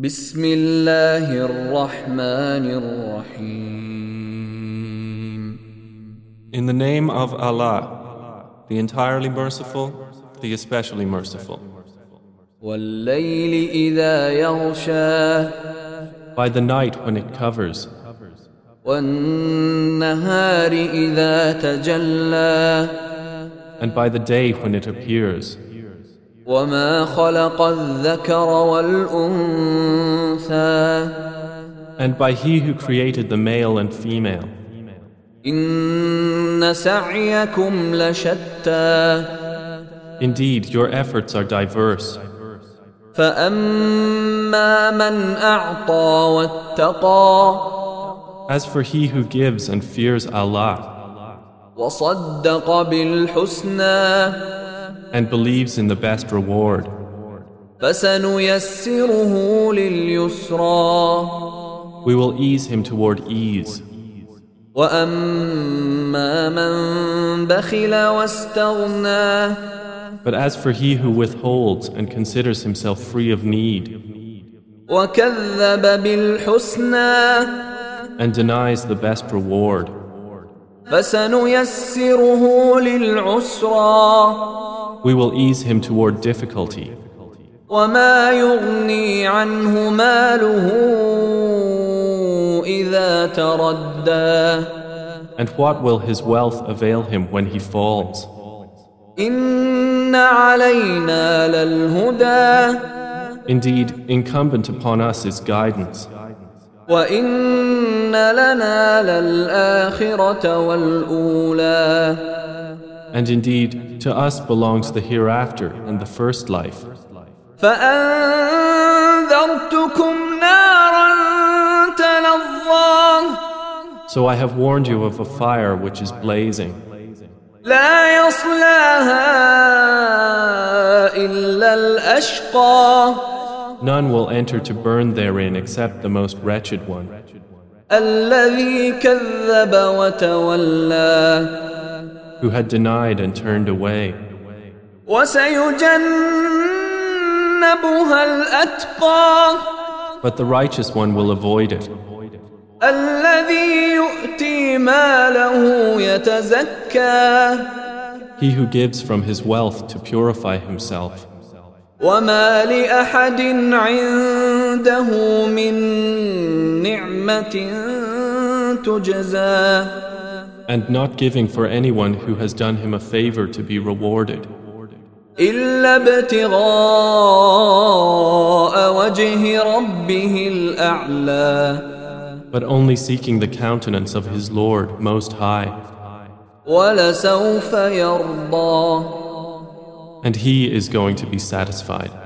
بسم الله الرحمن الرحيم In the name of Allah, the entirely merciful, the especially merciful. والليل إذا يغشى By the night when it covers, والنهار إذا تجلى and by the day when it appears, وما خلق الذكر والأنثى and by He who created the male and female. إن سعيكم لشتى Indeed, your efforts are diverse. فأما من أعطى واتقى As for he who gives and fears Allah وصدق بالحسنى and believes in the best reward, فسنيسره لليسرى we will ease him toward ease. واما من بخل واستغنى But as for he who withholds and considers himself free of need وكذب بالحسنى and denies the best reward, فسنيسره للعسرى We will ease him toward difficulty. وما يغني عنه ماله إذا تردى And what will his wealth avail him when he falls? إن علينا للهدى Indeed, incumbent upon us is guidance, وإن لنا للآخرة والأولى and indeed, to us belongs the hereafter and the first life. فأنذرتكم نارا تلظى So I have warned you of a fire which is blazing, لا يصلاها إلا الأشقى none will enter to burn therein except the most wretched one, الذي كذب وتولى who had denied and turned away, وسيجنبها الأتقى but the righteous one will avoid it. الذي يؤتي ماله يتزكى He who gives from his wealth to purify himself, وما لأحد عنده من نعمة تجزى and not giving for anyone who has done him a favor to be rewarded, إلا ابتغاء وجه ربه الأعلى but only seeking the countenance of his Lord Most High. ولسوف يرضى And he is going to be satisfied.